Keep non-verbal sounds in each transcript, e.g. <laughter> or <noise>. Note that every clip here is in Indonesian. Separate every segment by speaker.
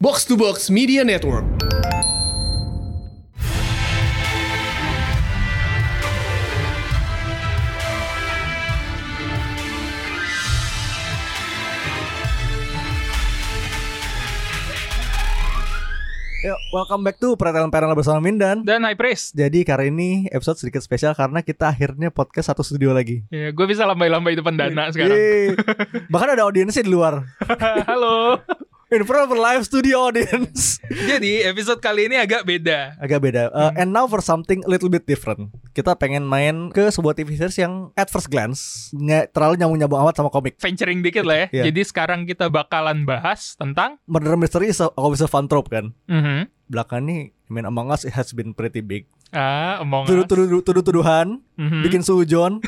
Speaker 1: Box to Box Media Network.
Speaker 2: Yo, welcome back to Pretelan Perel bersama Mindan.
Speaker 3: dan high praise.
Speaker 2: Jadi kali ini episode sedikit spesial karena kita akhirnya podcast satu studio lagi.
Speaker 3: Ya, gue bisa lambai-lambai depan
Speaker 2: Iya.
Speaker 3: dana Nah, sekarang.
Speaker 2: Yeay. Bahkan ada audiensnya di luar.
Speaker 3: <laughs> Halo.
Speaker 2: In front of a live studio audience.
Speaker 3: Jadi episode kali ini agak beda.
Speaker 2: Agak beda. Uh, and now for something a little bit different. Kita pengen main ke sebuah TV series yang at first glance nggak terlalu nyambung-nyambung amat sama komik.
Speaker 3: Venturing dikit lah ya.
Speaker 2: Iya.
Speaker 3: Jadi sekarang kita bakalan bahas tentang
Speaker 2: Murder mystery is a, always a fun trope kan.
Speaker 3: Mhm.
Speaker 2: Belakangan nih I mean, Among Us it has been pretty big.
Speaker 3: ah omong
Speaker 2: Tuduh-tuduh- Tuduh-tuduhan,
Speaker 3: Hmm.
Speaker 2: bikin sujon,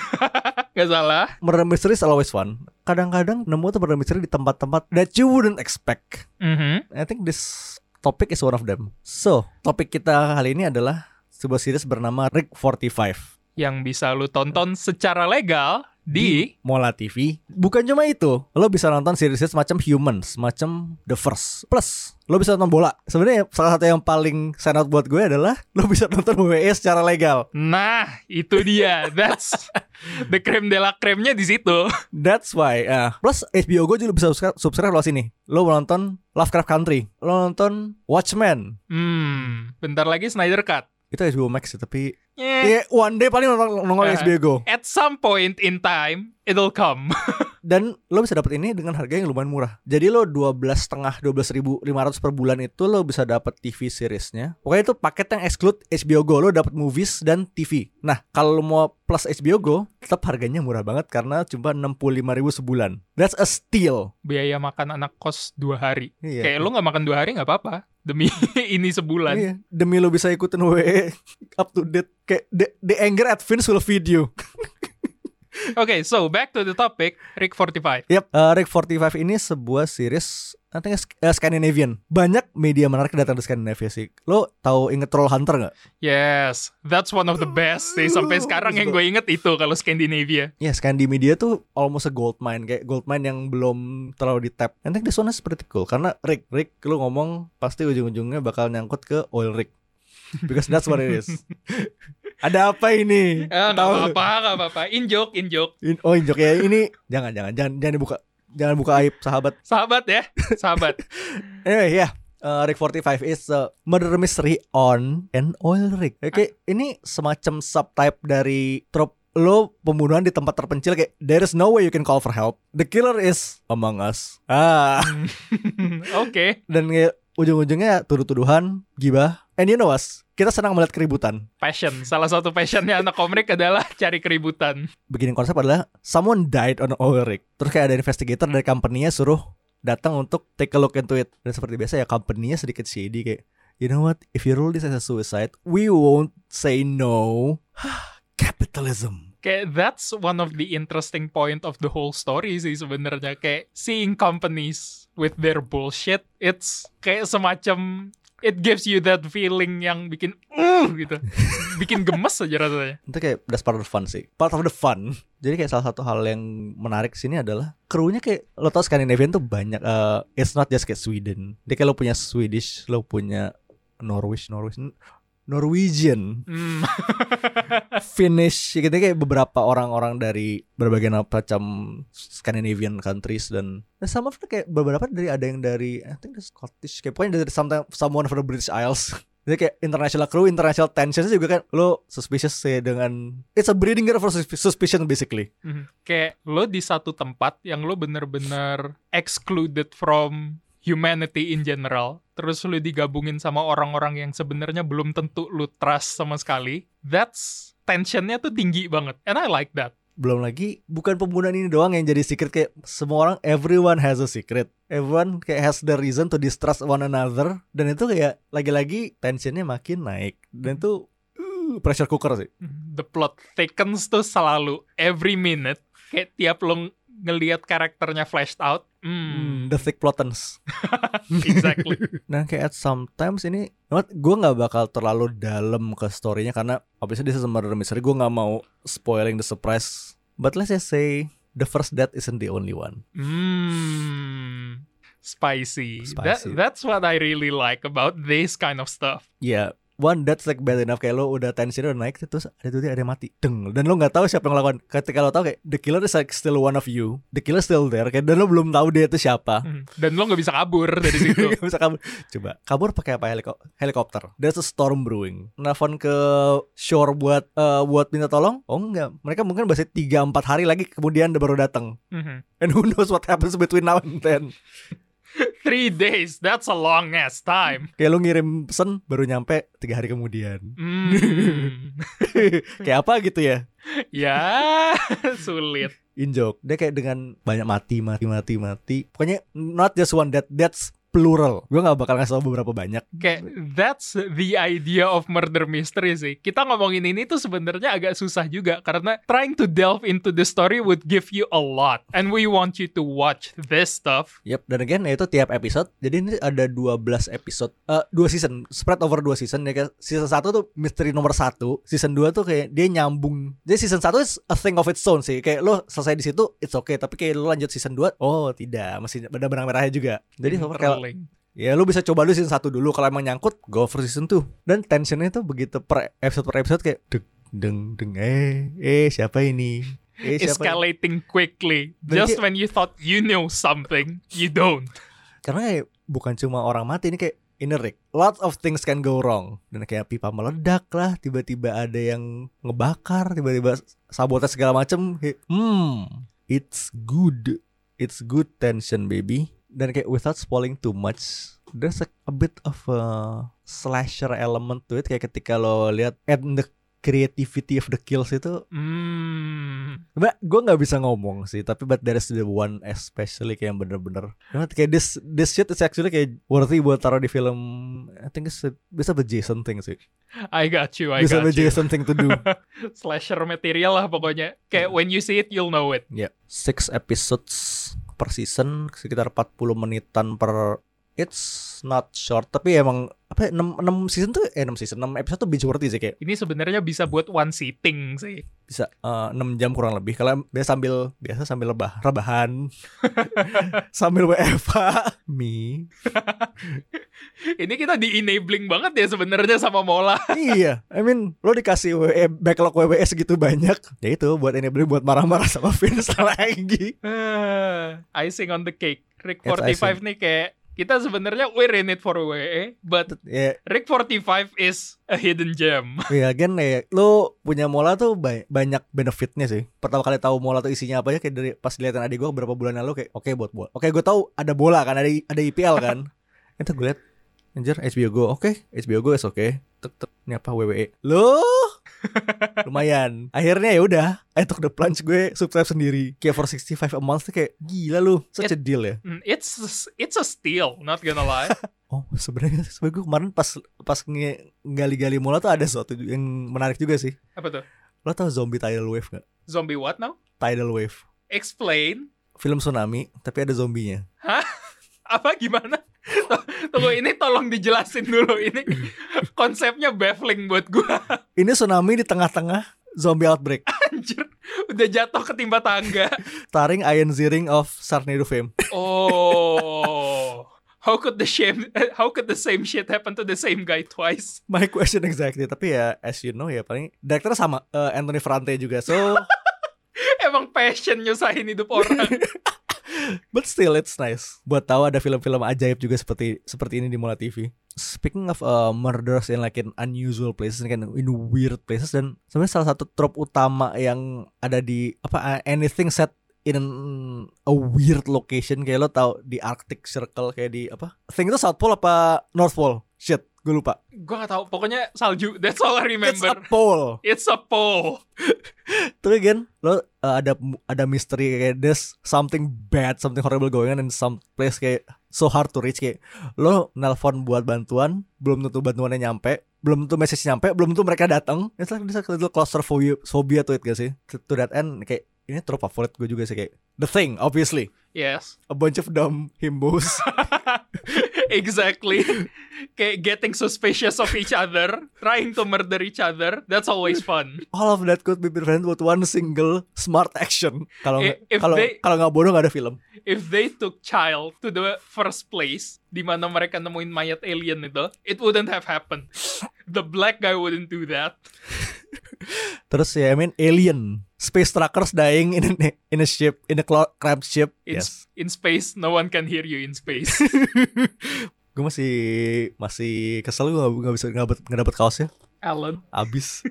Speaker 3: Gak salah.
Speaker 2: murder mystery is always fun. Kadang-kadang nemu tuh murder mystery di tempat-tempat that you wouldn't expect.
Speaker 3: Mhm.
Speaker 2: I think this topic is one of them. So, topik kita kali ini adalah sebuah series bernama Rick 45
Speaker 3: Yang bisa lu tonton secara legal di
Speaker 2: Mola TV. Bukan cuma itu, lo bisa nonton series macam Humans, macam The First. Plus, lo bisa nonton bola. Sebenarnya salah satu yang paling stand out buat gue adalah <laughs> lo bisa nonton WWE secara legal.
Speaker 3: Nah, itu dia.
Speaker 2: <laughs>
Speaker 3: That's the creme de la creme-nya di situ.
Speaker 2: That's why. ah. plus HBO gue juga bisa subscribe, subscribe lo sini. Lo nonton Lovecraft Country, lo nonton Watchmen,
Speaker 3: Hmm, bentar lagi Snyder Cut.
Speaker 2: itu HBO Max sih tapi
Speaker 3: Eh,
Speaker 2: ya one day paling nongol nongol
Speaker 3: Eh.
Speaker 2: HBO Go
Speaker 3: At some point in time, it'll come. <laughs>
Speaker 2: dan lo bisa dapat ini dengan harga yang lumayan murah jadi lo dua belas setengah dua per bulan itu lo bisa dapat TV seriesnya pokoknya itu paket yang exclude HBO Go lo dapat movies dan TV nah kalau lo mau plus HBO Go tetap harganya murah banget karena cuma 65.000 sebulan that's a steal
Speaker 3: Biaya makan anak kos dua hari.
Speaker 2: Iya.
Speaker 3: Kayak lu nggak makan dua hari nggak apa-apa demi <laughs> ini sebulan.
Speaker 2: Iya. Demi lo bisa ikutin WE <laughs> up to date kayak the, the anger at Vince will feed you.
Speaker 3: Oke, so back to the topic Rick 45.
Speaker 2: Yap, eh, Rick 45 ini sebuah series nantinya eh, Scandinavian. Banyak media menarik datang dari Skandinavia sih. Lo tahu inget Troll Hunter nggak?
Speaker 3: Yes, that's one of the best. Sih. Sampai sekarang yang gue inget itu kalau Scandinavia.
Speaker 2: Ya, Scandi Media tuh almost a gold mine kayak gold mine yang belum terlalu di tap. And I think this one is pretty cool karena Rick, Rick lo ngomong pasti ujung-ujungnya bakal nyangkut ke oil rig. Because that's what it is. <laughs> Ada apa ini?
Speaker 3: Ah, nggak
Speaker 2: Tahu?
Speaker 3: apa-apa, nggak apa-apa. In joke, in joke.
Speaker 2: In- oh, injok ya. Ini jangan jangan jangan jangan dibuka. Jangan buka aib sahabat.
Speaker 3: Sahabat ya, sahabat.
Speaker 2: <laughs> Anyway, ya. Uh, rig 45 is a murder mystery on an oil rig. Ah. Oke, ini semacam subtype dari trope lo pembunuhan di tempat terpencil kayak there is no way you can call for help. The killer is among us. Ah,
Speaker 3: Oke.
Speaker 2: <laughs> dan kayak ujung-ujungnya tuduh-tuduhan, gibah. And you know us, kita senang melihat keributan.
Speaker 3: Passion. Salah satu passionnya anak komik adalah cari keributan.
Speaker 2: Beginning konsep adalah someone died on an oil rig. Terus kayak ada investigator dari company-nya suruh datang untuk take a look into it. Dan seperti biasa ya company-nya sedikit shady kayak You know what? If you rule this as a suicide, we won't say no. <sighs> Capitalism.
Speaker 3: Kayak that's one of the interesting point of the whole story sih sebenarnya. Kayak seeing companies with their bullshit, it's kayak semacam it gives you that feeling yang bikin uh gitu. Bikin gemes aja rasanya.
Speaker 2: Itu kayak that's part of the fun sih. Part of the fun. <laughs> Jadi kayak salah satu hal yang menarik sini adalah krunya kayak lo tau Scandinavian tuh banyak. eh, it's not just kayak Sweden. Dia kayak lo punya Swedish, lo punya Norwich, Norwich, Norwegian,
Speaker 3: Hmm.
Speaker 2: Finnish. Gitu kayak beberapa orang-orang dari berbagai macam Scandinavian countries dan ya, dan sama kayak beberapa dari ada yang dari I think the Scottish kayak pokoknya dari sometime, someone from the British Isles. <laughs> Jadi kayak international crew, international tension juga kan lo suspicious sih dengan it's a breeding ground for sus- suspicion basically.
Speaker 3: Hmm. Kayak lo di satu tempat yang lo bener-bener excluded from humanity in general. Terus lo digabungin sama orang-orang yang sebenarnya belum tentu lo trust sama sekali. That's tensionnya tuh tinggi banget. And I like that.
Speaker 2: belum lagi bukan pembunuhan ini doang yang jadi secret kayak semua orang everyone has a secret everyone kayak has the reason to distrust one another dan itu kayak lagi-lagi tensionnya makin naik dan itu uh, pressure cooker sih
Speaker 3: the plot thickens tuh selalu every minute kayak tiap lo ng- ngelihat karakternya flashed out hmm,
Speaker 2: the thick plottens
Speaker 3: exactly
Speaker 2: nah kayak at sometimes ini what, gue nggak bakal terlalu dalam ke storynya karena obviously this is a murder mystery gue nggak mau spoiling the surprise but let's just say the first death isn't the only one
Speaker 3: hmm. spicy.
Speaker 2: Spicy.
Speaker 3: That that's what I really like about this kind of stuff.
Speaker 2: Ya, one that's like bad enough kayak lo udah tensi udah naik terus ada tuh dia ada yang mati. Deng. Dan lo nggak tahu siapa yang ngelakuin. Ketika lo tahu kayak the killer is like still one of you. The killer still there kayak dan lo belum tahu dia itu siapa. <laughs>
Speaker 3: Hmm. Dan lo nggak bisa kabur dari situ.
Speaker 2: Nggak bisa kabur. Coba kabur pakai apa Heliko- helikopter? There's a storm brewing. Nelfon ke shore buat eh, buat minta tolong? Oh enggak. Mereka mungkin bahasa 3 4 hari lagi kemudian baru datang.
Speaker 3: Mhm.
Speaker 2: And who knows what happens between now and then.
Speaker 3: Three days, that's a long ass time.
Speaker 2: Kayak lo ngirim pesan baru nyampe 3 hari kemudian. <laughs>
Speaker 3: Hmm. <laughs>
Speaker 2: kayak apa gitu ya?
Speaker 3: ya, sulit.
Speaker 2: Injok. Dia kayak dengan banyak mati, mati, mati, mati. Pokoknya not just one death, that's plural. Gue nggak bakal ngasih tau beberapa banyak.
Speaker 3: Kayak that's the idea of murder mystery sih. Kita ngomongin ini tuh sebenarnya agak susah juga karena trying to delve into the story would give you a lot and we want you to watch this stuff.
Speaker 2: Yep. Dan again, ya itu tiap episode. Jadi ini ada 12 episode, eh dua season, spread over dua season. Ya, kayak season 1 tuh misteri nomor satu, season 2 tuh kayak dia nyambung. Jadi season 1 is a thing of its own sih. Kayak lo selesai di situ, it's okay. Tapi kayak lo lanjut season 2, oh tidak, masih ada benang merahnya juga. Jadi
Speaker 3: Hmm,
Speaker 2: kalau
Speaker 3: Rolling.
Speaker 2: Ya lu bisa coba lu season 1 dulu kalau emang nyangkut go for season 2. Dan tensionnya tuh begitu per episode per episode kayak deg deng deng eh eh siapa ini? Eh siapa? ini?
Speaker 3: escalating quickly.
Speaker 2: Dan
Speaker 3: Just
Speaker 2: kayak-
Speaker 3: when you thought you knew something, you don't.
Speaker 2: Karena kayak bukan cuma orang mati ini kayak Inerik, lots of things can go wrong Dan kayak pipa meledak lah Tiba-tiba ada yang ngebakar Tiba-tiba sabotase segala macem Kayak, Hmm, it's good It's good tension baby Dan kayak without spoiling too much There's a, a bit of a slasher element to it Kayak ketika lo lihat And the creativity of the kills itu
Speaker 3: Hmm.
Speaker 2: Mbak, gue nggak bisa ngomong sih, tapi but there is the one especially kayak yang bener-bener Nah, kayak this this shit is actually kayak worthy buat taruh di film I think it's a- bisa be Jason thing sih.
Speaker 3: I got you, I
Speaker 2: Bisa
Speaker 3: got
Speaker 2: be
Speaker 3: you.
Speaker 2: Jason thing to
Speaker 3: <laughs>
Speaker 2: do.
Speaker 3: Slasher material lah pokoknya. Kayak when you see it, you'll know it.
Speaker 2: ya, six episodes per season sekitar 40 menitan per it's not short tapi emang apa 6, 6 season tuh eh 6 season 6 episode tuh binge worthy sih kayak
Speaker 3: Ini sebenarnya bisa buat one sitting sih.
Speaker 2: bisa eh, 6 jam kurang lebih kalau biasa sambil biasa sambil lebah
Speaker 3: <laughs>
Speaker 2: rebahan <laughs> sambil WFH me
Speaker 3: Ini kita di enabling banget ya sebenarnya sama Mola.
Speaker 2: iya, I mean lo dikasih WWE, backlog WWS gitu banyak. Ya itu buat ini beli buat marah-marah sama Vince <laughs> lagi.
Speaker 3: Ah, icing on the cake. Rick
Speaker 2: It's
Speaker 3: 45 nih kayak kita sebenarnya we're in it for WWE, but
Speaker 2: Ya,
Speaker 3: Rick 45 is a hidden gem. <laughs>
Speaker 2: ya again ya, lo punya Mola tuh ba- banyak benefitnya sih. Pertama kali tahu Mola tuh isinya apa aja kayak dari pas liatin adik gua berapa bulan lalu kayak oke buat bola. Oke, gue tahu ada bola kan, ada ada IPL kan. <laughs> itu gue liat anjir HBO Go. Oke, HBO Go is oke. Tek tek ini apa WWE. Loh <laughs> lumayan akhirnya ya udah I took the plunge gue subscribe sendiri kayak for 65 a month tuh kayak gila lu such a deal ya
Speaker 3: Hmm, It's it's a steal, not gonna lie.
Speaker 2: Oh sebenarnya sebenarnya gue kemarin pas pas nge- gali-gali mula tuh ada sesuatu yang menarik juga sih.
Speaker 3: Apa tuh?
Speaker 2: Lo tau zombie tidal wave gak?
Speaker 3: Zombie what now?
Speaker 2: Tidal wave,
Speaker 3: Explain.
Speaker 2: film tsunami tapi ada zombinya.
Speaker 3: Hah? Apa gimana? <laughs> T- Tunggu ini tolong dijelasin dulu ini konsepnya baffling buat gua <laughs>
Speaker 2: Ini tsunami di tengah-tengah zombie outbreak.
Speaker 3: anjir udah jatuh ketimpa tangga.
Speaker 2: Starring Ian Ziering of Sharknado fame.
Speaker 3: Oh, how could the same how could the same shit happen to the same guy twice?
Speaker 2: <laughs> My question exactly tapi ya as you know ya paling director sama eh, Anthony Ferrante juga so
Speaker 3: Emang passion nyusahin hidup
Speaker 2: <laughs>
Speaker 3: orang.
Speaker 2: But still it's nice. Buat tahu ada film-film ajaib juga seperti seperti ini di Mola TV. Speaking of uh, murders in like in unusual places kan in weird places dan sebenarnya salah satu trope utama yang ada di apa uh, anything set in an- a weird location kayak lo tahu di Arctic Circle kayak di apa? Thing itu South Pole apa North Pole? Shit, gue lupa.
Speaker 3: Gua gak tahu. Pokoknya salju. That's all I
Speaker 2: It's a
Speaker 3: remember.
Speaker 2: pole.
Speaker 3: It's a pole.
Speaker 2: Tapi again, lo uh, ada ada misteri kayak there's something bad, something horrible going on in some place kayak so hard to reach kayak lo nelpon buat bantuan, belum tentu bantuannya nyampe, belum tentu message nyampe, belum tentu mereka datang. It's like this little claustrophobia phobia to it gak sih? To, to that end kayak ini trope favorit gue <laughs> juga sih kayak The Thing obviously
Speaker 3: Yes.
Speaker 2: a bunch of dumb himbos
Speaker 3: exactly. Kayak getting suspicious of each other, trying to murder each other. That's always fun.
Speaker 2: <laughs> All of that could be prevented with one single smart action. Kalau nggak-
Speaker 3: If- if
Speaker 2: kalau
Speaker 3: they-
Speaker 2: kalau nggak bodoh nggak ada film.
Speaker 3: If they took child to the first place di mana mereka nemuin mayat alien itu, it wouldn't have happened. The black guy wouldn't do that.
Speaker 2: Terus ya, I mean alien, space truckers dying in a, in a ship, in a clo- crab ship.
Speaker 3: In,
Speaker 2: Yes.
Speaker 3: in space, no one can hear you in space.
Speaker 2: <laughs> Gue masih masih kesel gue nggak bisa nggak dapet- nggak dapet kaosnya.
Speaker 3: Alan.
Speaker 2: Abis.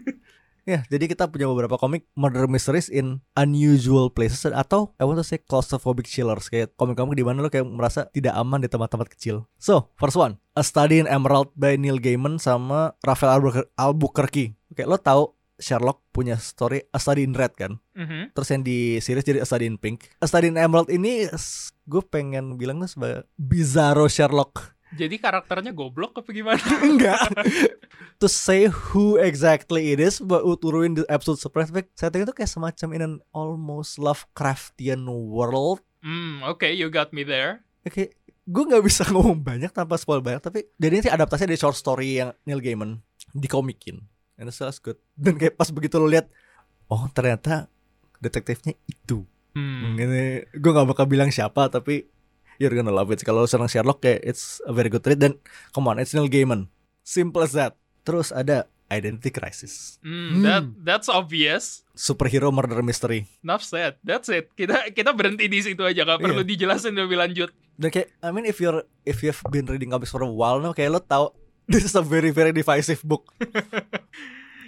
Speaker 2: ya, jadi kita punya beberapa komik murder mysteries in unusual places atau I want to say claustrophobic chillers kayak komik-komik di mana lo kayak merasa tidak aman di tempat-tempat kecil. So, first one, A Study in Emerald by Neil Gaiman sama Raphael Albuquer- Albuquerque. Oke, lo tahu Sherlock punya story A Study in Red kan?
Speaker 3: Mhm.
Speaker 2: Terus yang di series jadi A Study in Pink. A Study in Emerald ini s- gue pengen bilangnya sebagai bizarro Sherlock.
Speaker 3: Jadi karakternya goblok apa gimana?
Speaker 2: Enggak. to say who exactly it is but would ruin the absolute surprise. But setting itu kayak semacam in an almost Lovecraftian world.
Speaker 3: Hmm, okay, you got me there.
Speaker 2: Oke, gue nggak bisa <laughs> ngomong banyak tanpa spoil banyak. Tapi jadi ini sih adaptasi dari short story yang Neil Gaiman dikomikin. And it's just good. Dan kayak pas begitu lo lihat, oh ternyata detektifnya itu.
Speaker 3: Hmm.
Speaker 2: Ini gue gak bakal bilang siapa tapi you're gonna love it. Kalau lo senang Sherlock kayak it's a very good read dan come on it's Neil Gaiman. Simple as that. Terus ada Identity Crisis.
Speaker 3: Hmm, that that's obvious.
Speaker 2: Superhero murder mystery.
Speaker 3: Enough said. That's it. Kita kita berhenti di situ aja, nggak perlu dijelasin lebih lanjut.
Speaker 2: Dan kayak I mean if you're if you've been reading comics for a while now kayak lo tahu <laughs> this is a very very divisive book.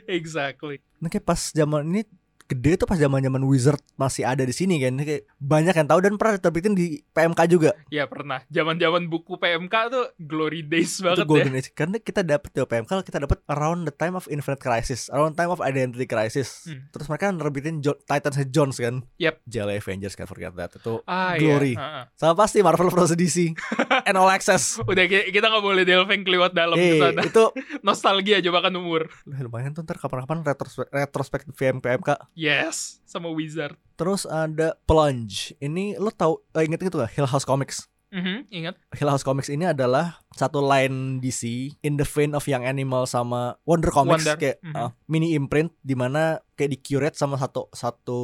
Speaker 3: Exactly.
Speaker 2: Nah kayak pas zaman ini gede tuh pas zaman zaman wizard masih ada di sini kan kayak banyak yang tahu dan pernah diterbitin di PMK juga
Speaker 3: Ya pernah. Zaman-zaman buku PMK tuh glory days
Speaker 2: itu
Speaker 3: banget ya.
Speaker 2: golden age karena kita dapat di PMK kalau kita dapat around the time of infinite crisis around time of identity crisis
Speaker 3: Hmm.
Speaker 2: terus mereka nerbitin jo- Titans Head Jones kan
Speaker 3: Yep.
Speaker 2: Jelly Avengers kan forget that itu
Speaker 3: Ah,
Speaker 2: Glory.
Speaker 3: Iya. ha-ha.
Speaker 2: sama pasti Marvel vs
Speaker 3: <laughs>
Speaker 2: DC and all access
Speaker 3: Udah ki- kita nggak boleh delving kelewat dalam
Speaker 2: Eh,
Speaker 3: ke sana.
Speaker 2: itu <laughs>
Speaker 3: Nostalgia aja bahkan umur.
Speaker 2: Lah, lumayan tuh ntar kapan-kapan retrospe- retrospektif PM PMK
Speaker 3: Yes, sama Wizard.
Speaker 2: terus ada Plunge ini lo tau eh, inget itu gak Hill House Comics
Speaker 3: Mhm, ingat.
Speaker 2: Hill House Comics ini adalah satu line DC in the vein of Young Animal sama Wonder Comics
Speaker 3: Wonder,
Speaker 2: kayak
Speaker 3: mhm.
Speaker 2: ah, mini imprint di mana kayak di curate sama satu satu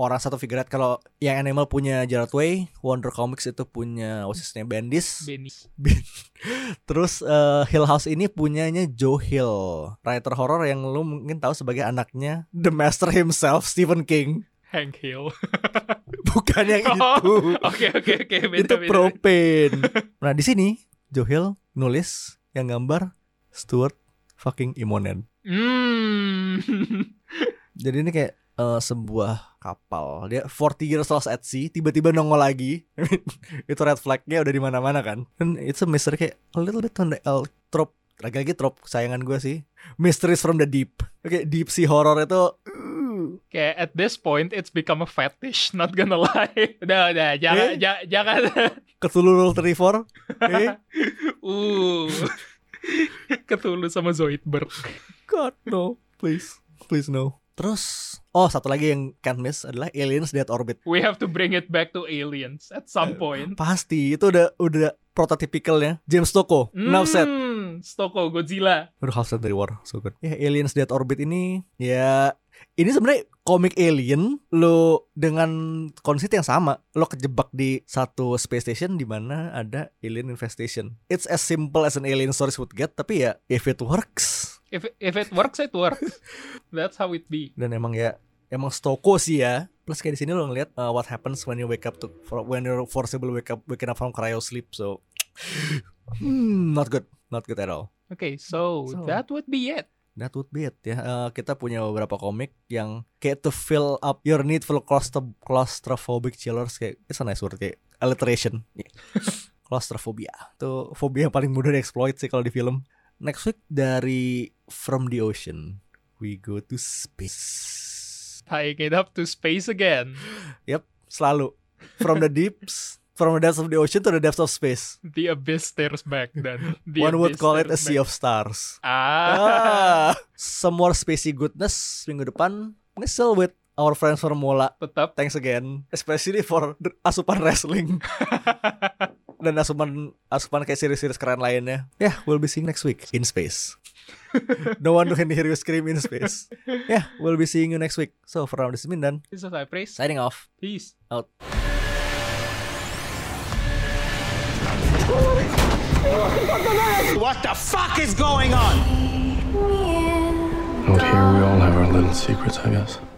Speaker 2: orang satu figurat kalau Young Animal punya Gerard Way, Wonder Comics itu punya what's his name Bendis.
Speaker 3: Benny.
Speaker 2: Terus eh, Hill House ini punyanya Joe Hill, writer horror yang lu mungkin tahu sebagai anaknya the master himself Stephen King. <laughs>
Speaker 3: Hank Hill. <laughs>
Speaker 2: Bukan yang itu.
Speaker 3: Oke oke oke. beda,
Speaker 2: itu
Speaker 3: beda, beda.
Speaker 2: propane. nah di sini Johil nulis yang gambar Stuart fucking Imonen.
Speaker 3: Hmm. <laughs>
Speaker 2: Jadi ini kayak eh, sebuah kapal dia 40 years lost at sea tiba-tiba nongol lagi <laughs> itu red flagnya udah di mana-mana kan dan it's a mystery kayak a little bit on the L trop lagi-lagi trop kesayangan gue sih mysteries from the deep oke deep sea horror itu
Speaker 3: Kayak at this point it's become a fetish, not gonna <laughs> lie. Udah, udah, jangan,
Speaker 2: Eh?
Speaker 3: ja- <laughs> jangan.
Speaker 2: Cthulhu Retriever eh,
Speaker 3: uh.
Speaker 2: <laughs>
Speaker 3: Ketulu sama Zoidberg.
Speaker 2: God no, please, please no. Terus, oh satu lagi yang can't miss adalah Aliens Dead Orbit.
Speaker 3: We have to bring it back to aliens at
Speaker 2: Eh.
Speaker 3: some point.
Speaker 2: Pasti itu udah udah prototipikalnya James Toko,
Speaker 3: Hmm,
Speaker 2: enough said.
Speaker 3: Stoko Godzilla.
Speaker 2: Aduh, half century war, so good. Ya Aliens Dead Orbit ini ya ini sebenarnya komik alien lo dengan konsep yang sama lo kejebak di satu space station di mana ada alien infestation. It's as simple as an alien stories would get, tapi ya if it works
Speaker 3: If if it works, it
Speaker 2: <laughs>
Speaker 3: works. That's how it be.
Speaker 2: dan emang ya emang stoko sih ya plus kayak di sini lo ngeliat uh, what happens when you wake up to for, when you're forcible wake up waking up from cryo sleep so hmm, not good not good at all
Speaker 3: Okay, so,
Speaker 2: So.
Speaker 3: that would be it.
Speaker 2: that would be it ya Uh, kita punya beberapa komik yang kayak to fill up your need for claustro- claustrophobic chillers kayak it's a nice word kayak alliteration
Speaker 3: Iya.
Speaker 2: <laughs> claustrophobia itu fobia yang paling mudah dieksploit sih kalau di film next week dari from the ocean we go to space
Speaker 3: Tying it up to space again.
Speaker 2: Yep, selalu. From
Speaker 3: <laughs>
Speaker 2: the deeps, from the depths of the ocean to the depths of space.
Speaker 3: The abyss stares back then. The
Speaker 2: One would
Speaker 3: abyss
Speaker 2: call it a
Speaker 3: stares
Speaker 2: sea
Speaker 3: back.
Speaker 2: of stars. Ah,
Speaker 3: Ah.
Speaker 2: some more spacey goodness minggu depan. Ngesel with our friends Formula.
Speaker 3: Tetap.
Speaker 2: Thanks again, especially for the asupan wrestling. dan asupan asupan kayak series-series keren lainnya. Ya, yeah, we'll be seeing next week in space. no one can hear you scream in space. Yeah, we'll be seeing you next week. So for now, this is Mindan
Speaker 3: This is Cypress.
Speaker 2: signing off.
Speaker 3: Peace.
Speaker 2: Out.
Speaker 4: What the fuck is going on?
Speaker 5: Out here, we all have our little secrets, I guess.